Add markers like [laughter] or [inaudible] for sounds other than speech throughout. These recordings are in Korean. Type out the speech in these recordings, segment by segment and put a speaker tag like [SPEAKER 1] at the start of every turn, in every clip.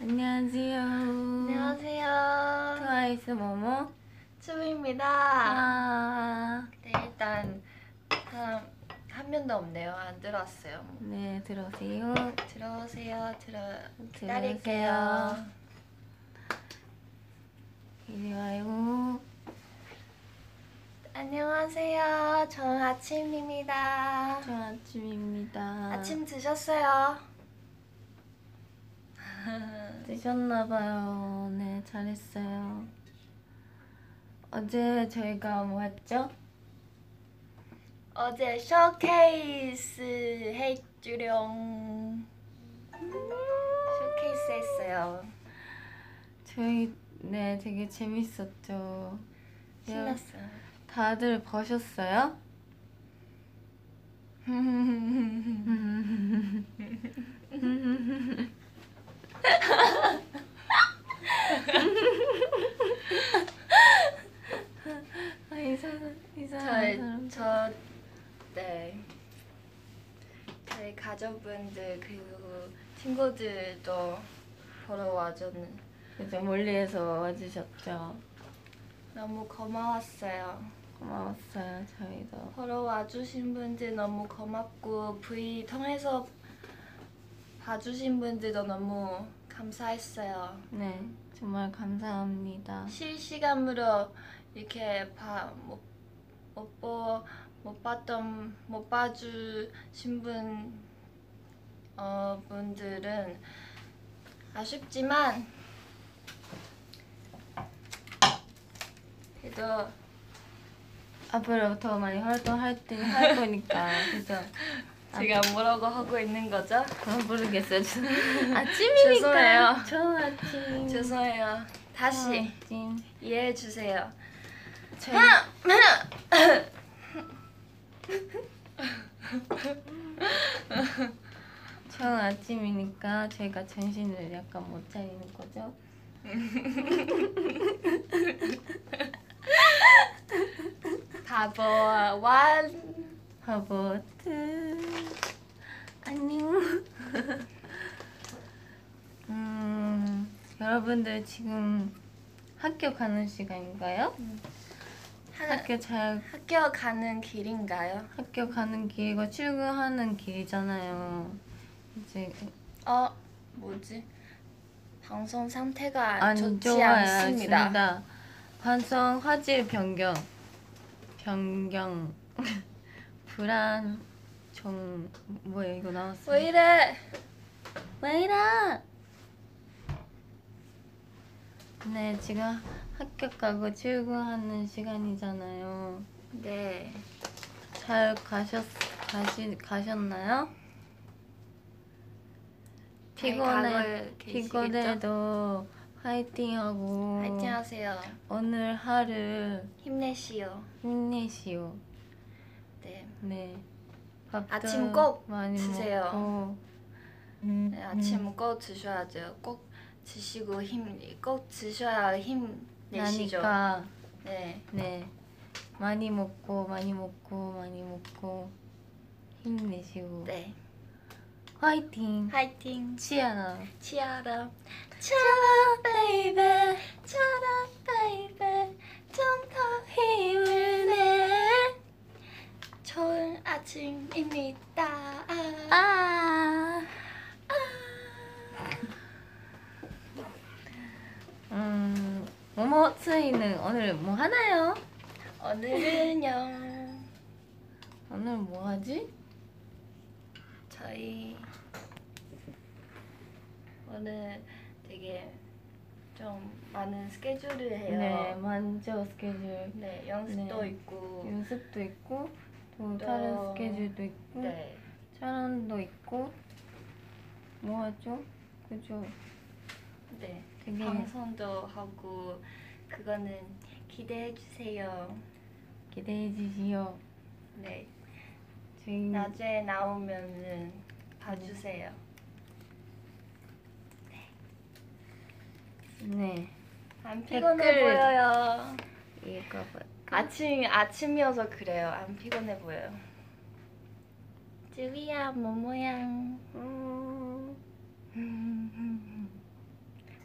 [SPEAKER 1] 안녕하세요.
[SPEAKER 2] 안녕하세요.
[SPEAKER 1] 트와이스 모모.
[SPEAKER 2] 추미입니다.
[SPEAKER 1] 아,
[SPEAKER 2] 네, 일단 사람 한 명도 없네요. 안 들어왔어요. 뭐.
[SPEAKER 1] 네 들어오세요.
[SPEAKER 2] 들어오세요. 들어 기다릴게요.
[SPEAKER 1] 들어오세요. 이리 와요.
[SPEAKER 2] 안녕하세요. 저는 아침입니다.
[SPEAKER 1] 좋은 아침입니다.
[SPEAKER 2] 아침 드셨어요?
[SPEAKER 1] 드셨나봐요. 네 잘했어요. 어제 저희가 뭐 했죠?
[SPEAKER 2] 어제 쇼케이스 해주렴. 음. 쇼케이스 했어요.
[SPEAKER 1] 저희 네 되게 재밌었죠. 네,
[SPEAKER 2] [laughs] 신났어요.
[SPEAKER 1] 다들 보셨어요? 아, 이상한 이상한 사람.
[SPEAKER 2] 저희 저 네. 저희 가족분들 그리고 친구들도 보러 와줬는
[SPEAKER 1] 그죠 멀리에서 와주셨죠.
[SPEAKER 2] 너무 고마웠어요.
[SPEAKER 1] 고마웠어요 저희도.
[SPEAKER 2] 보러 와주신 분들 너무 고맙고 V 통해서 봐주신 분들도 너무 감사했어요.
[SPEAKER 1] 네 정말 감사합니다.
[SPEAKER 2] 실시간으로 이렇게 봐못 못, 보- 못 봤던 못 봐주신 분 어, 분들은 아쉽지만 그래도
[SPEAKER 1] 앞으로 더 많이 활동할 때 할 거니까 [laughs] 그죠?
[SPEAKER 2] 제가 뭐라고 하고 있는 거죠?
[SPEAKER 1] 아, 모르겠어요. 저는 아침이니까.
[SPEAKER 2] 죄송해요.
[SPEAKER 1] 좋은
[SPEAKER 2] 음.
[SPEAKER 1] 아침.
[SPEAKER 2] 죄송해요. 다시
[SPEAKER 1] 좋은 아침.
[SPEAKER 2] 이해해 주세요. 음,
[SPEAKER 1] 저희 좋은 아침이니까 저희가 정신을 약간 못 차리는 거죠.
[SPEAKER 2] 바보 완.
[SPEAKER 1] 바보트 안녕 [laughs] 음 여러분들 지금 학교 가는 시간인가요?
[SPEAKER 2] 하-
[SPEAKER 1] 학교 잘
[SPEAKER 2] 학교 가는 길인가요?
[SPEAKER 1] 학교 가는 길과 출근하는 길이잖아요 이제
[SPEAKER 2] 어 뭐지 방송 상태가
[SPEAKER 1] 안
[SPEAKER 2] 좋지
[SPEAKER 1] 좋아요
[SPEAKER 2] 않습니다.
[SPEAKER 1] 진짜. 반성 화질 변경 변경 [laughs] 불안 정 뭐야 이거 나왔어
[SPEAKER 2] 왜 이래?
[SPEAKER 1] 왜 이래? 네, 지금 학교 가고 출근하는 시간이잖아요.
[SPEAKER 2] 네
[SPEAKER 1] 잘 가셨 가시 가셨나요?
[SPEAKER 2] 잘
[SPEAKER 1] 피곤해
[SPEAKER 2] 가고 계시겠죠?
[SPEAKER 1] 피곤해도 화이팅하고
[SPEAKER 2] 안녕하세요.
[SPEAKER 1] 오늘 하루
[SPEAKER 2] 힘내시오.
[SPEAKER 1] 힘내시오.
[SPEAKER 2] 네,
[SPEAKER 1] 네. 밥도
[SPEAKER 2] 아침 꼭
[SPEAKER 1] 많이
[SPEAKER 2] 드세요.
[SPEAKER 1] 먹고. 음.
[SPEAKER 2] 네, 아침 꼭 드셔야죠. 꼭 드시고 힘꼭 드셔야 힘 내시죠.
[SPEAKER 1] 나니까
[SPEAKER 2] 네
[SPEAKER 1] 네. 많이 먹고 많이 먹고 많이 먹고 힘내시고
[SPEAKER 2] 네.
[SPEAKER 1] 화이팅.
[SPEAKER 2] 파이팅.
[SPEAKER 1] 치아나.
[SPEAKER 2] 치아라. 차라 베이베. 차라 베이베. 좀 더 힘을 내. 좋은 아침입니다. 아.
[SPEAKER 1] 아. 음. 모모 트이는 오늘 뭐 하나요?
[SPEAKER 2] 오늘은요
[SPEAKER 1] 오늘 뭐 하지?
[SPEAKER 2] 저희 오늘 되게 좀 많은 스케줄을 해요.
[SPEAKER 1] 네, 만져 스케줄.
[SPEAKER 2] 네, 연습도
[SPEAKER 1] 네.
[SPEAKER 2] 있고
[SPEAKER 1] 연습도 있고 또 다른
[SPEAKER 2] 또-
[SPEAKER 1] 스케줄도 있고
[SPEAKER 2] 네
[SPEAKER 1] 촬영도 있고 뭐 하죠? 그죠?
[SPEAKER 2] 네.
[SPEAKER 1] 되게
[SPEAKER 2] 방송도 하고 그거는 기대해 주세요.
[SPEAKER 1] 기대해 주시오.
[SPEAKER 2] 네
[SPEAKER 1] 저희
[SPEAKER 2] 나중에 나오면은 봐주세요.
[SPEAKER 1] 네
[SPEAKER 2] 안 피곤해
[SPEAKER 1] 댓글.
[SPEAKER 2] 보여요.
[SPEAKER 1] 이거 봐.
[SPEAKER 2] 아침 아침이어서 그래요. 안 피곤해 보여요. 쯔위야 모모양.
[SPEAKER 1] 음,
[SPEAKER 2] 음.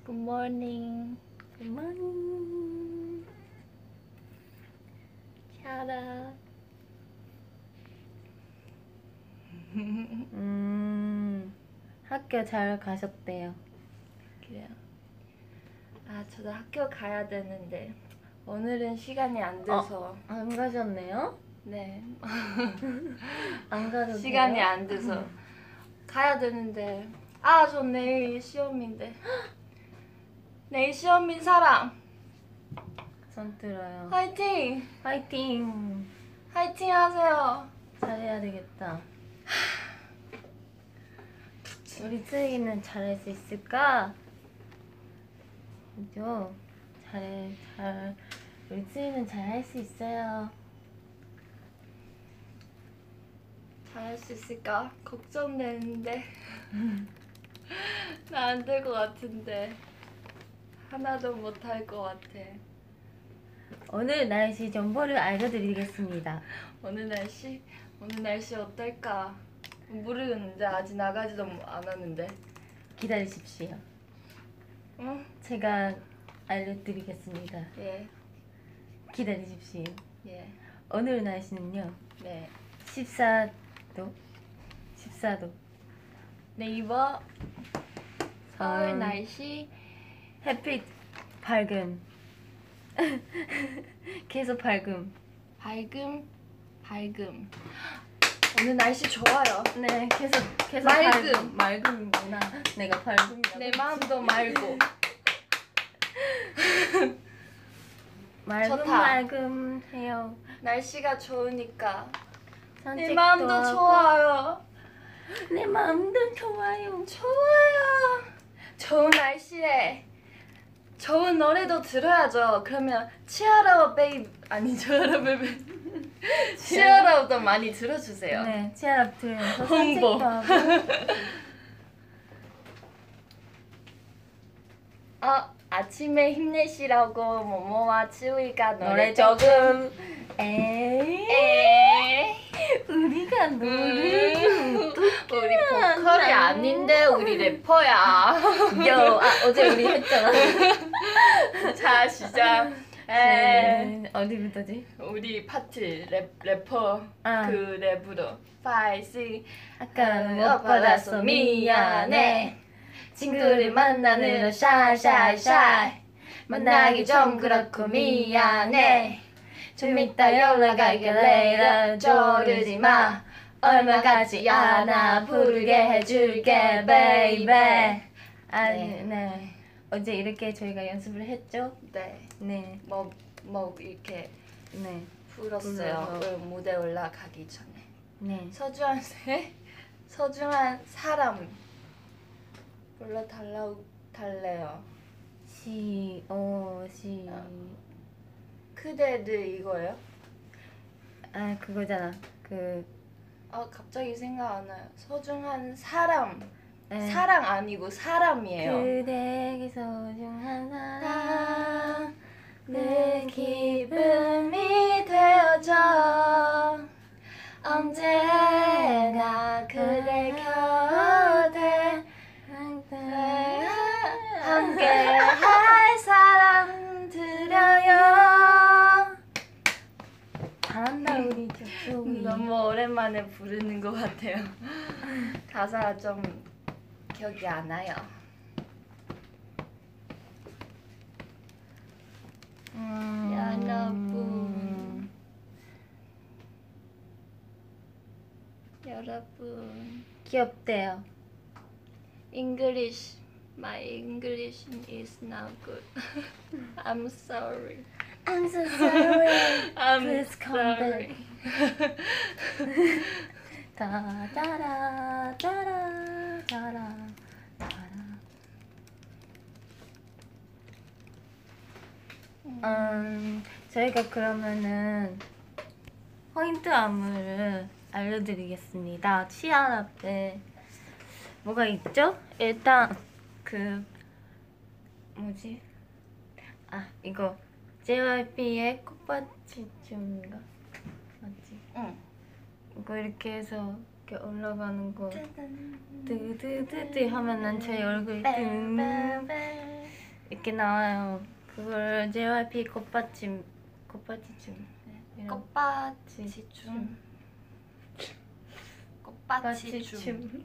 [SPEAKER 3] 굿모닝
[SPEAKER 1] 그만.
[SPEAKER 3] 샤라
[SPEAKER 1] 음, 학교 잘 가셨대요.
[SPEAKER 2] 그래요. 아 저도 학교 가야 되는데 오늘은 시간이 안 돼서
[SPEAKER 1] 안 가셨네요?
[SPEAKER 2] 네
[SPEAKER 1] 안 가도
[SPEAKER 2] 시간이
[SPEAKER 1] 돼요?
[SPEAKER 2] 안 돼서 가야 되는데 아 저 내일 시험인데 내일 시험인 사람
[SPEAKER 1] 손 들어요.
[SPEAKER 2] 화이팅
[SPEAKER 1] 화이팅!
[SPEAKER 2] 화이팅 하세요.
[SPEAKER 1] 잘해야 되겠다. 우리 쓰이는 잘할 수 있을까? 그죠? 잘해, 잘. 우리 쓰이는 잘할 수 있어요.
[SPEAKER 2] 잘할 수 있을까 걱정되는데 [laughs] 나 안 될 것 같은데 하나도 못 할 것 같아
[SPEAKER 1] 오늘 날씨 정보를 알려드리겠습니다.
[SPEAKER 2] 오늘 날씨 오늘 날씨 어떨까 모르겠는데 아직 나가지도 않았는데
[SPEAKER 1] 기다리십시오.
[SPEAKER 2] 응?
[SPEAKER 1] 제가 알려드리겠습니다.
[SPEAKER 2] 예,
[SPEAKER 1] 기다리십시오.
[SPEAKER 2] 예,
[SPEAKER 1] 오늘 날씨는요,
[SPEAKER 2] 네.
[SPEAKER 1] 14도, 14도,
[SPEAKER 2] 네이버 서울
[SPEAKER 1] 음.
[SPEAKER 2] 날씨
[SPEAKER 1] 햇빛 밝음, [laughs] 계속 밝음.
[SPEAKER 2] 밝음 밝음 오늘 날씨 좋아요
[SPEAKER 1] 네, 계속 계속 밝음,
[SPEAKER 2] 맑음.
[SPEAKER 1] 맑음이구나. 내가 밝음이야.
[SPEAKER 2] 내 마음도 말고
[SPEAKER 1] 맑음
[SPEAKER 2] 좋다.
[SPEAKER 1] 맑음 해요.
[SPEAKER 2] 날씨가 좋으니까 내
[SPEAKER 1] 산책도
[SPEAKER 2] 마음도
[SPEAKER 1] 하고.
[SPEAKER 2] 좋아요
[SPEAKER 1] 내 마음도 좋아요.
[SPEAKER 2] 좋아요. 좋은 날씨에 좋은 노래도 들어야죠. 그러면 치아라워 베이비 아니 치아라워 베이비 [laughs] 치아라워도 많이 들어주세요.
[SPEAKER 1] 네, 치아랍 들으면서 산책도
[SPEAKER 2] 홍보.
[SPEAKER 1] 하고.
[SPEAKER 2] 어 아침에 힘내시라고 모모와 치우이가
[SPEAKER 1] 노래
[SPEAKER 2] 노래 조금 예.
[SPEAKER 1] 에이,
[SPEAKER 2] 에
[SPEAKER 1] 우리가 노래. 음.
[SPEAKER 2] 우리 보컬이 아닌데 우리 래퍼야. [laughs]
[SPEAKER 1] 요, 아 어제 우리 했잖아.
[SPEAKER 2] 자 시작. 에
[SPEAKER 1] 네, 어디부터지?
[SPEAKER 2] 우리 파티 랩 래퍼
[SPEAKER 1] 아.
[SPEAKER 2] 그 랩으로 5, 6
[SPEAKER 1] 아까 못 받았어 미안해. 친구를 만나는 너 샤샤샤. 만나기 좀 그렇고 미안해. 좀 이따 연락할게 later 조르지 마. 얼마 가지 않아 부르게 해줄게 baby. 아, 네.
[SPEAKER 2] 네.
[SPEAKER 1] 네. 어제 이렇게 저희가 연습을 했죠?
[SPEAKER 2] 네.
[SPEAKER 1] 네.
[SPEAKER 2] 뭐, 뭐 이렇게
[SPEAKER 1] 네.
[SPEAKER 2] 풀었어요.
[SPEAKER 1] 불러서.
[SPEAKER 2] 그 무대 올라가기 전에.
[SPEAKER 1] 네.
[SPEAKER 2] 서주한 새 서주한 사람 불러 달라고 달래요.
[SPEAKER 1] 시, 오, 시.
[SPEAKER 2] 그대들 이거예요?
[SPEAKER 1] 아, 그거잖아. 그
[SPEAKER 2] 아 갑자기 생각 안 나요. 서중한 사람
[SPEAKER 1] 에.
[SPEAKER 2] 사랑 아니고 사람이에요.
[SPEAKER 1] 그대에게 소중한 사랑
[SPEAKER 2] 나, 아, 내 기쁨이 되어줘 언제나 그대 곁에 함께 할 사람 드려요
[SPEAKER 1] 잘한다 우리 격수이
[SPEAKER 2] 음, 너무 오랜만에 부르는 것 같아요 [laughs] 가사가 좀 기억이 안 나요
[SPEAKER 1] 음.
[SPEAKER 2] 음.
[SPEAKER 1] 뭐.
[SPEAKER 2] 여러분. 여러분
[SPEAKER 1] 귀엽대요
[SPEAKER 2] English My English is not good [laughs] I'm sorry
[SPEAKER 1] I'm so sorry
[SPEAKER 2] I'm
[SPEAKER 1] Please come back. 따라라 따라 따라 따라 음 저희가 그러면은 포인트 안무를 알려드리겠습니다 치안 앞에 뭐가 있죠? 일단 그 뭐지? 아 이거 JYP의 꽃밭이 춤인가? 맞지?
[SPEAKER 2] 응.
[SPEAKER 1] 이거 이렇게 해서 이렇게
[SPEAKER 2] 네,
[SPEAKER 1] 올라가는 거 드드드드 하면은 제 얼굴이 등 이렇게 나와요. 그걸 JYP 겉받침 겉받침 이런
[SPEAKER 2] 꽃밭이 춤 꽃밭이 춤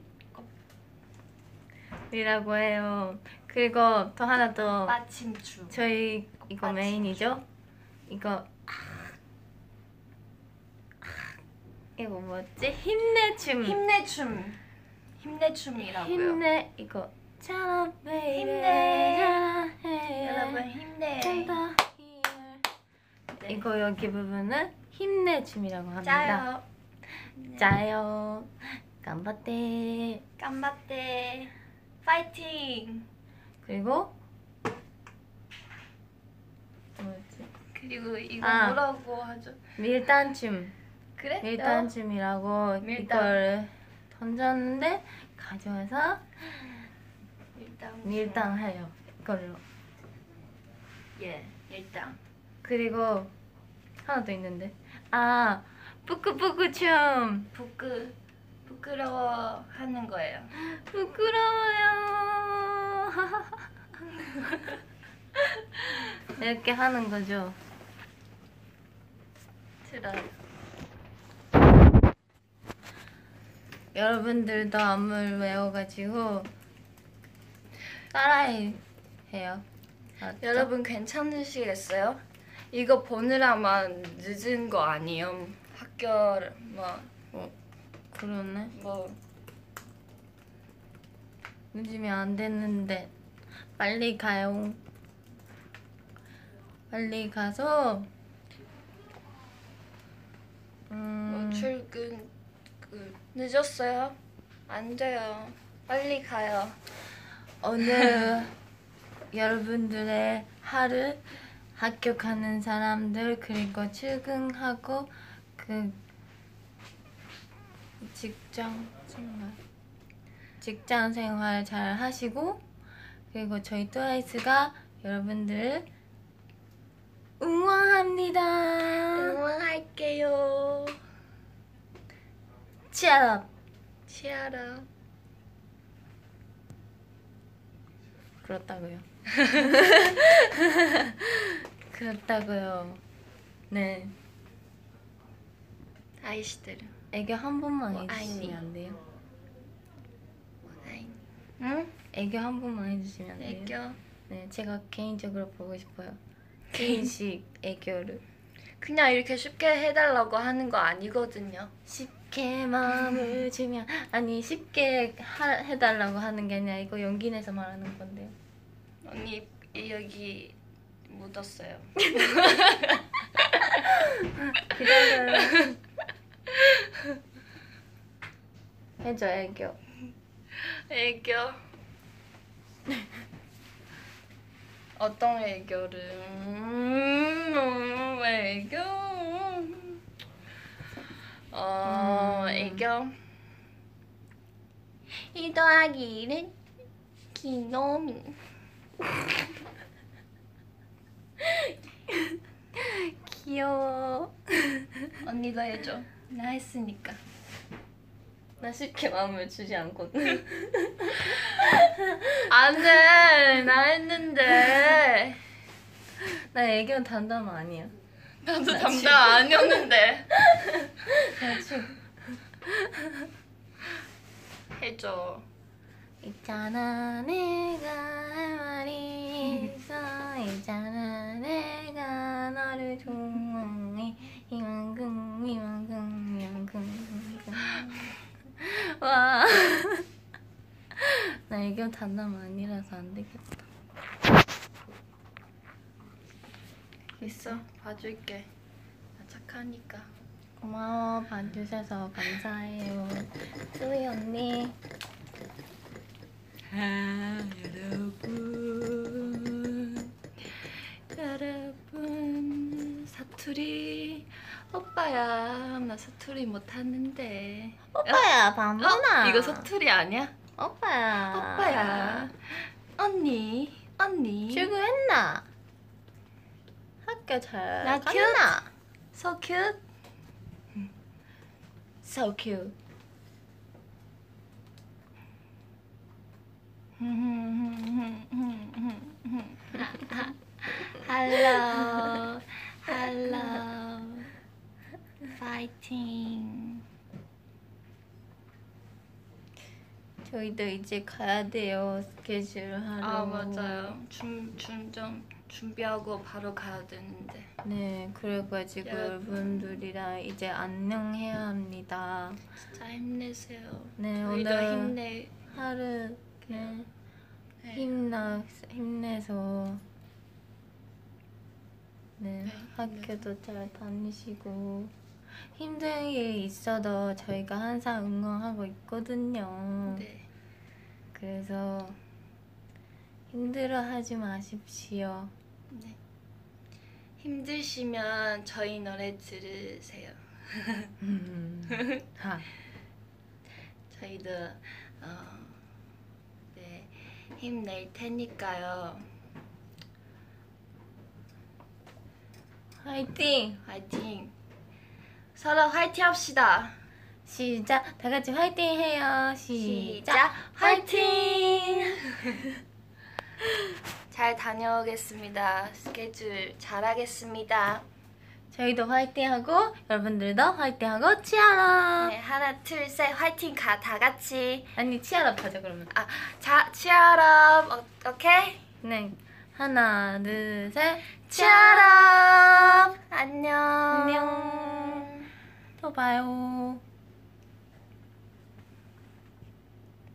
[SPEAKER 1] 춤이라고 해요. 그리고 또 하나 더
[SPEAKER 2] 꽃밭춤 춤
[SPEAKER 1] 저희 이거
[SPEAKER 2] 꽃받침
[SPEAKER 1] 메인이죠? 이거 아, 아, 이거 뭐지? 힘내춤.
[SPEAKER 2] 힘내 춤 힘내 춤이라고요
[SPEAKER 1] 음. 힘내 이거 잘한 베이비
[SPEAKER 2] 힘내.
[SPEAKER 1] 잘해
[SPEAKER 2] 여러분 힘내
[SPEAKER 1] 된다.
[SPEAKER 2] 네.
[SPEAKER 1] 이거 여기 부분은 힘내 춤이라고 합니다. 네.
[SPEAKER 2] 짜요
[SPEAKER 1] 짜요. 깜바떼
[SPEAKER 2] 깜바떼 파이팅
[SPEAKER 1] 그리고 뭐였지?
[SPEAKER 2] 그리고 이거
[SPEAKER 1] 아.
[SPEAKER 2] 뭐라고 하죠
[SPEAKER 1] 밀단 춤.
[SPEAKER 2] 그래
[SPEAKER 1] 밀단 춤이라고
[SPEAKER 2] 어? 밀당.
[SPEAKER 1] 이걸 던졌는데 가져와서
[SPEAKER 2] 밀당
[SPEAKER 1] 밀당해요. 이걸로.
[SPEAKER 2] 예 밀당
[SPEAKER 1] 그리고 하나 더 있는데. 아, 뿌꾸뿌꾸 춤.
[SPEAKER 2] 부끄 부끄러워 하는 거예요
[SPEAKER 1] 부끄러워요. [laughs] 이렇게 하는 거죠.
[SPEAKER 2] 들어요
[SPEAKER 1] 여러분들도 안무를 외워가지고 따라해 해요. 맞죠?
[SPEAKER 2] 여러분 괜찮으시겠어요? 이거 보느라만 늦은 거 아니에요? 학교를 뭐,
[SPEAKER 1] 그러네.
[SPEAKER 2] 뭐뭐
[SPEAKER 1] 늦으면 안 되는데 빨리 가요. 빨리 가서 음,
[SPEAKER 2] 뭐 출근 그 늦었어요? 안 돼요. 빨리 가요.
[SPEAKER 1] 오늘 여러분들의 하루 학교 가는 사람들 그리고 출근하고 그 직장 생활 직장 생활 잘 하시고 그리고 저희 트와이스가 여러분들을 응원합니다.
[SPEAKER 2] 응원할게요.
[SPEAKER 1] 치아럽
[SPEAKER 2] 치아라.
[SPEAKER 1] 그렇다고요. [laughs] 그렇다고요. 네.
[SPEAKER 2] 아이시들.
[SPEAKER 1] 애교 한 번만
[SPEAKER 2] 뭐, 아니.
[SPEAKER 1] 해주시면 안 돼요?
[SPEAKER 2] 원아인. 응?
[SPEAKER 1] 애교 한 번만 해주시면 안 돼요?
[SPEAKER 2] 애교.
[SPEAKER 1] 네, 제가 개인적으로 보고 싶어요. 개인식 애교를
[SPEAKER 2] 그냥 이렇게 쉽게 해달라고 하는 거 아니거든요.
[SPEAKER 1] 쉽게 [laughs] 마음을 주면 아니 쉽게 하, 해달라고 하는 게 아니라 이거 연기 내서 말하는 건데요.
[SPEAKER 2] 언니 이- 여기 묻었어요.
[SPEAKER 1] 기다려요. 해줘 애교.
[SPEAKER 2] 애교. 어떤 애교를? 음, 애교. 어,
[SPEAKER 1] 음.
[SPEAKER 2] 애교. 1 더하기 1은 기놈이.
[SPEAKER 1] 귀여워.
[SPEAKER 2] 언니가 해줘. 나 했으니까.
[SPEAKER 1] 나 쉽게 마음을 주지 않거든.
[SPEAKER 2] 안 돼! 나 했는데.
[SPEAKER 1] [laughs] 나 애교는 단담 아니야.
[SPEAKER 2] 나도 담당 아니었는데.
[SPEAKER 1] 나 지금
[SPEAKER 2] [laughs] 해줘.
[SPEAKER 1] 있잖아 내가 할 말이 있어 있잖아 내가 너를 좋아해 이만큼 이만큼 이만큼 이만큼. 와. [laughs] 나 애교 단남 아니라서 안 되겠다.
[SPEAKER 2] 있어. 봐줄게. 나 착하니까.
[SPEAKER 1] 고마워 봐주셔서 감사해요. 쭈이 언니.
[SPEAKER 2] 아, 여러분 여러분 사투리 오빠야 나 사투리 못하는데
[SPEAKER 1] 오빠야
[SPEAKER 2] 어?
[SPEAKER 1] 반문아.
[SPEAKER 2] 이거 사투리 아니야?
[SPEAKER 1] 오빠야.
[SPEAKER 2] 오빠야 아. 언니 언니
[SPEAKER 1] 출근했나? 학교 잘
[SPEAKER 2] 나
[SPEAKER 1] 갔나?
[SPEAKER 2] so cute
[SPEAKER 1] So cute.
[SPEAKER 2] Hello, hello, fighting.
[SPEAKER 1] 저희도 이제 가야 돼요 스케줄 하러.
[SPEAKER 2] 아 맞아요. 준준좀 준비하고 바로 가야 되는데.
[SPEAKER 1] 네, 그래가지고
[SPEAKER 2] 여러분.
[SPEAKER 1] 여러분들이랑 이제 안녕해야 합니다.
[SPEAKER 2] 진짜 힘내세요.
[SPEAKER 1] 네,
[SPEAKER 2] 저희도
[SPEAKER 1] 오늘
[SPEAKER 2] 힘내.
[SPEAKER 1] 하루 네,
[SPEAKER 2] 네.
[SPEAKER 1] 힘나 힘내서 네,
[SPEAKER 2] 네,
[SPEAKER 1] 학교도 잘 다니시고 힘든 일 있어도 저희가 항상 응원하고 있거든요.
[SPEAKER 2] 네.
[SPEAKER 1] 그래서 힘들어하지 마십시오.
[SPEAKER 2] 네. 힘드시면 저희 노래 들으세요.
[SPEAKER 1] 하.
[SPEAKER 2] 저희도 어, 네, 힘낼 테니까요.
[SPEAKER 1] 화이팅!
[SPEAKER 2] 화이팅. 서로 화이팅 합시다.
[SPEAKER 1] 시작! 다 같이 화이팅 해요. 시작!
[SPEAKER 2] 시작 화이팅! 잘 다녀오겠습니다. 스케줄 잘하겠습니다.
[SPEAKER 1] 저희도 화이팅하고 여러분들도 화이팅하고 치아라!
[SPEAKER 2] 네, 하나 둘 셋 화이팅 가 다 같이
[SPEAKER 1] 아니 치아라 봐줘 그러면.
[SPEAKER 2] 아자 치아람 어, 오케이
[SPEAKER 1] 네. 하나 둘 셋.
[SPEAKER 2] 치아람 안녕
[SPEAKER 1] 안녕. 또 봐요.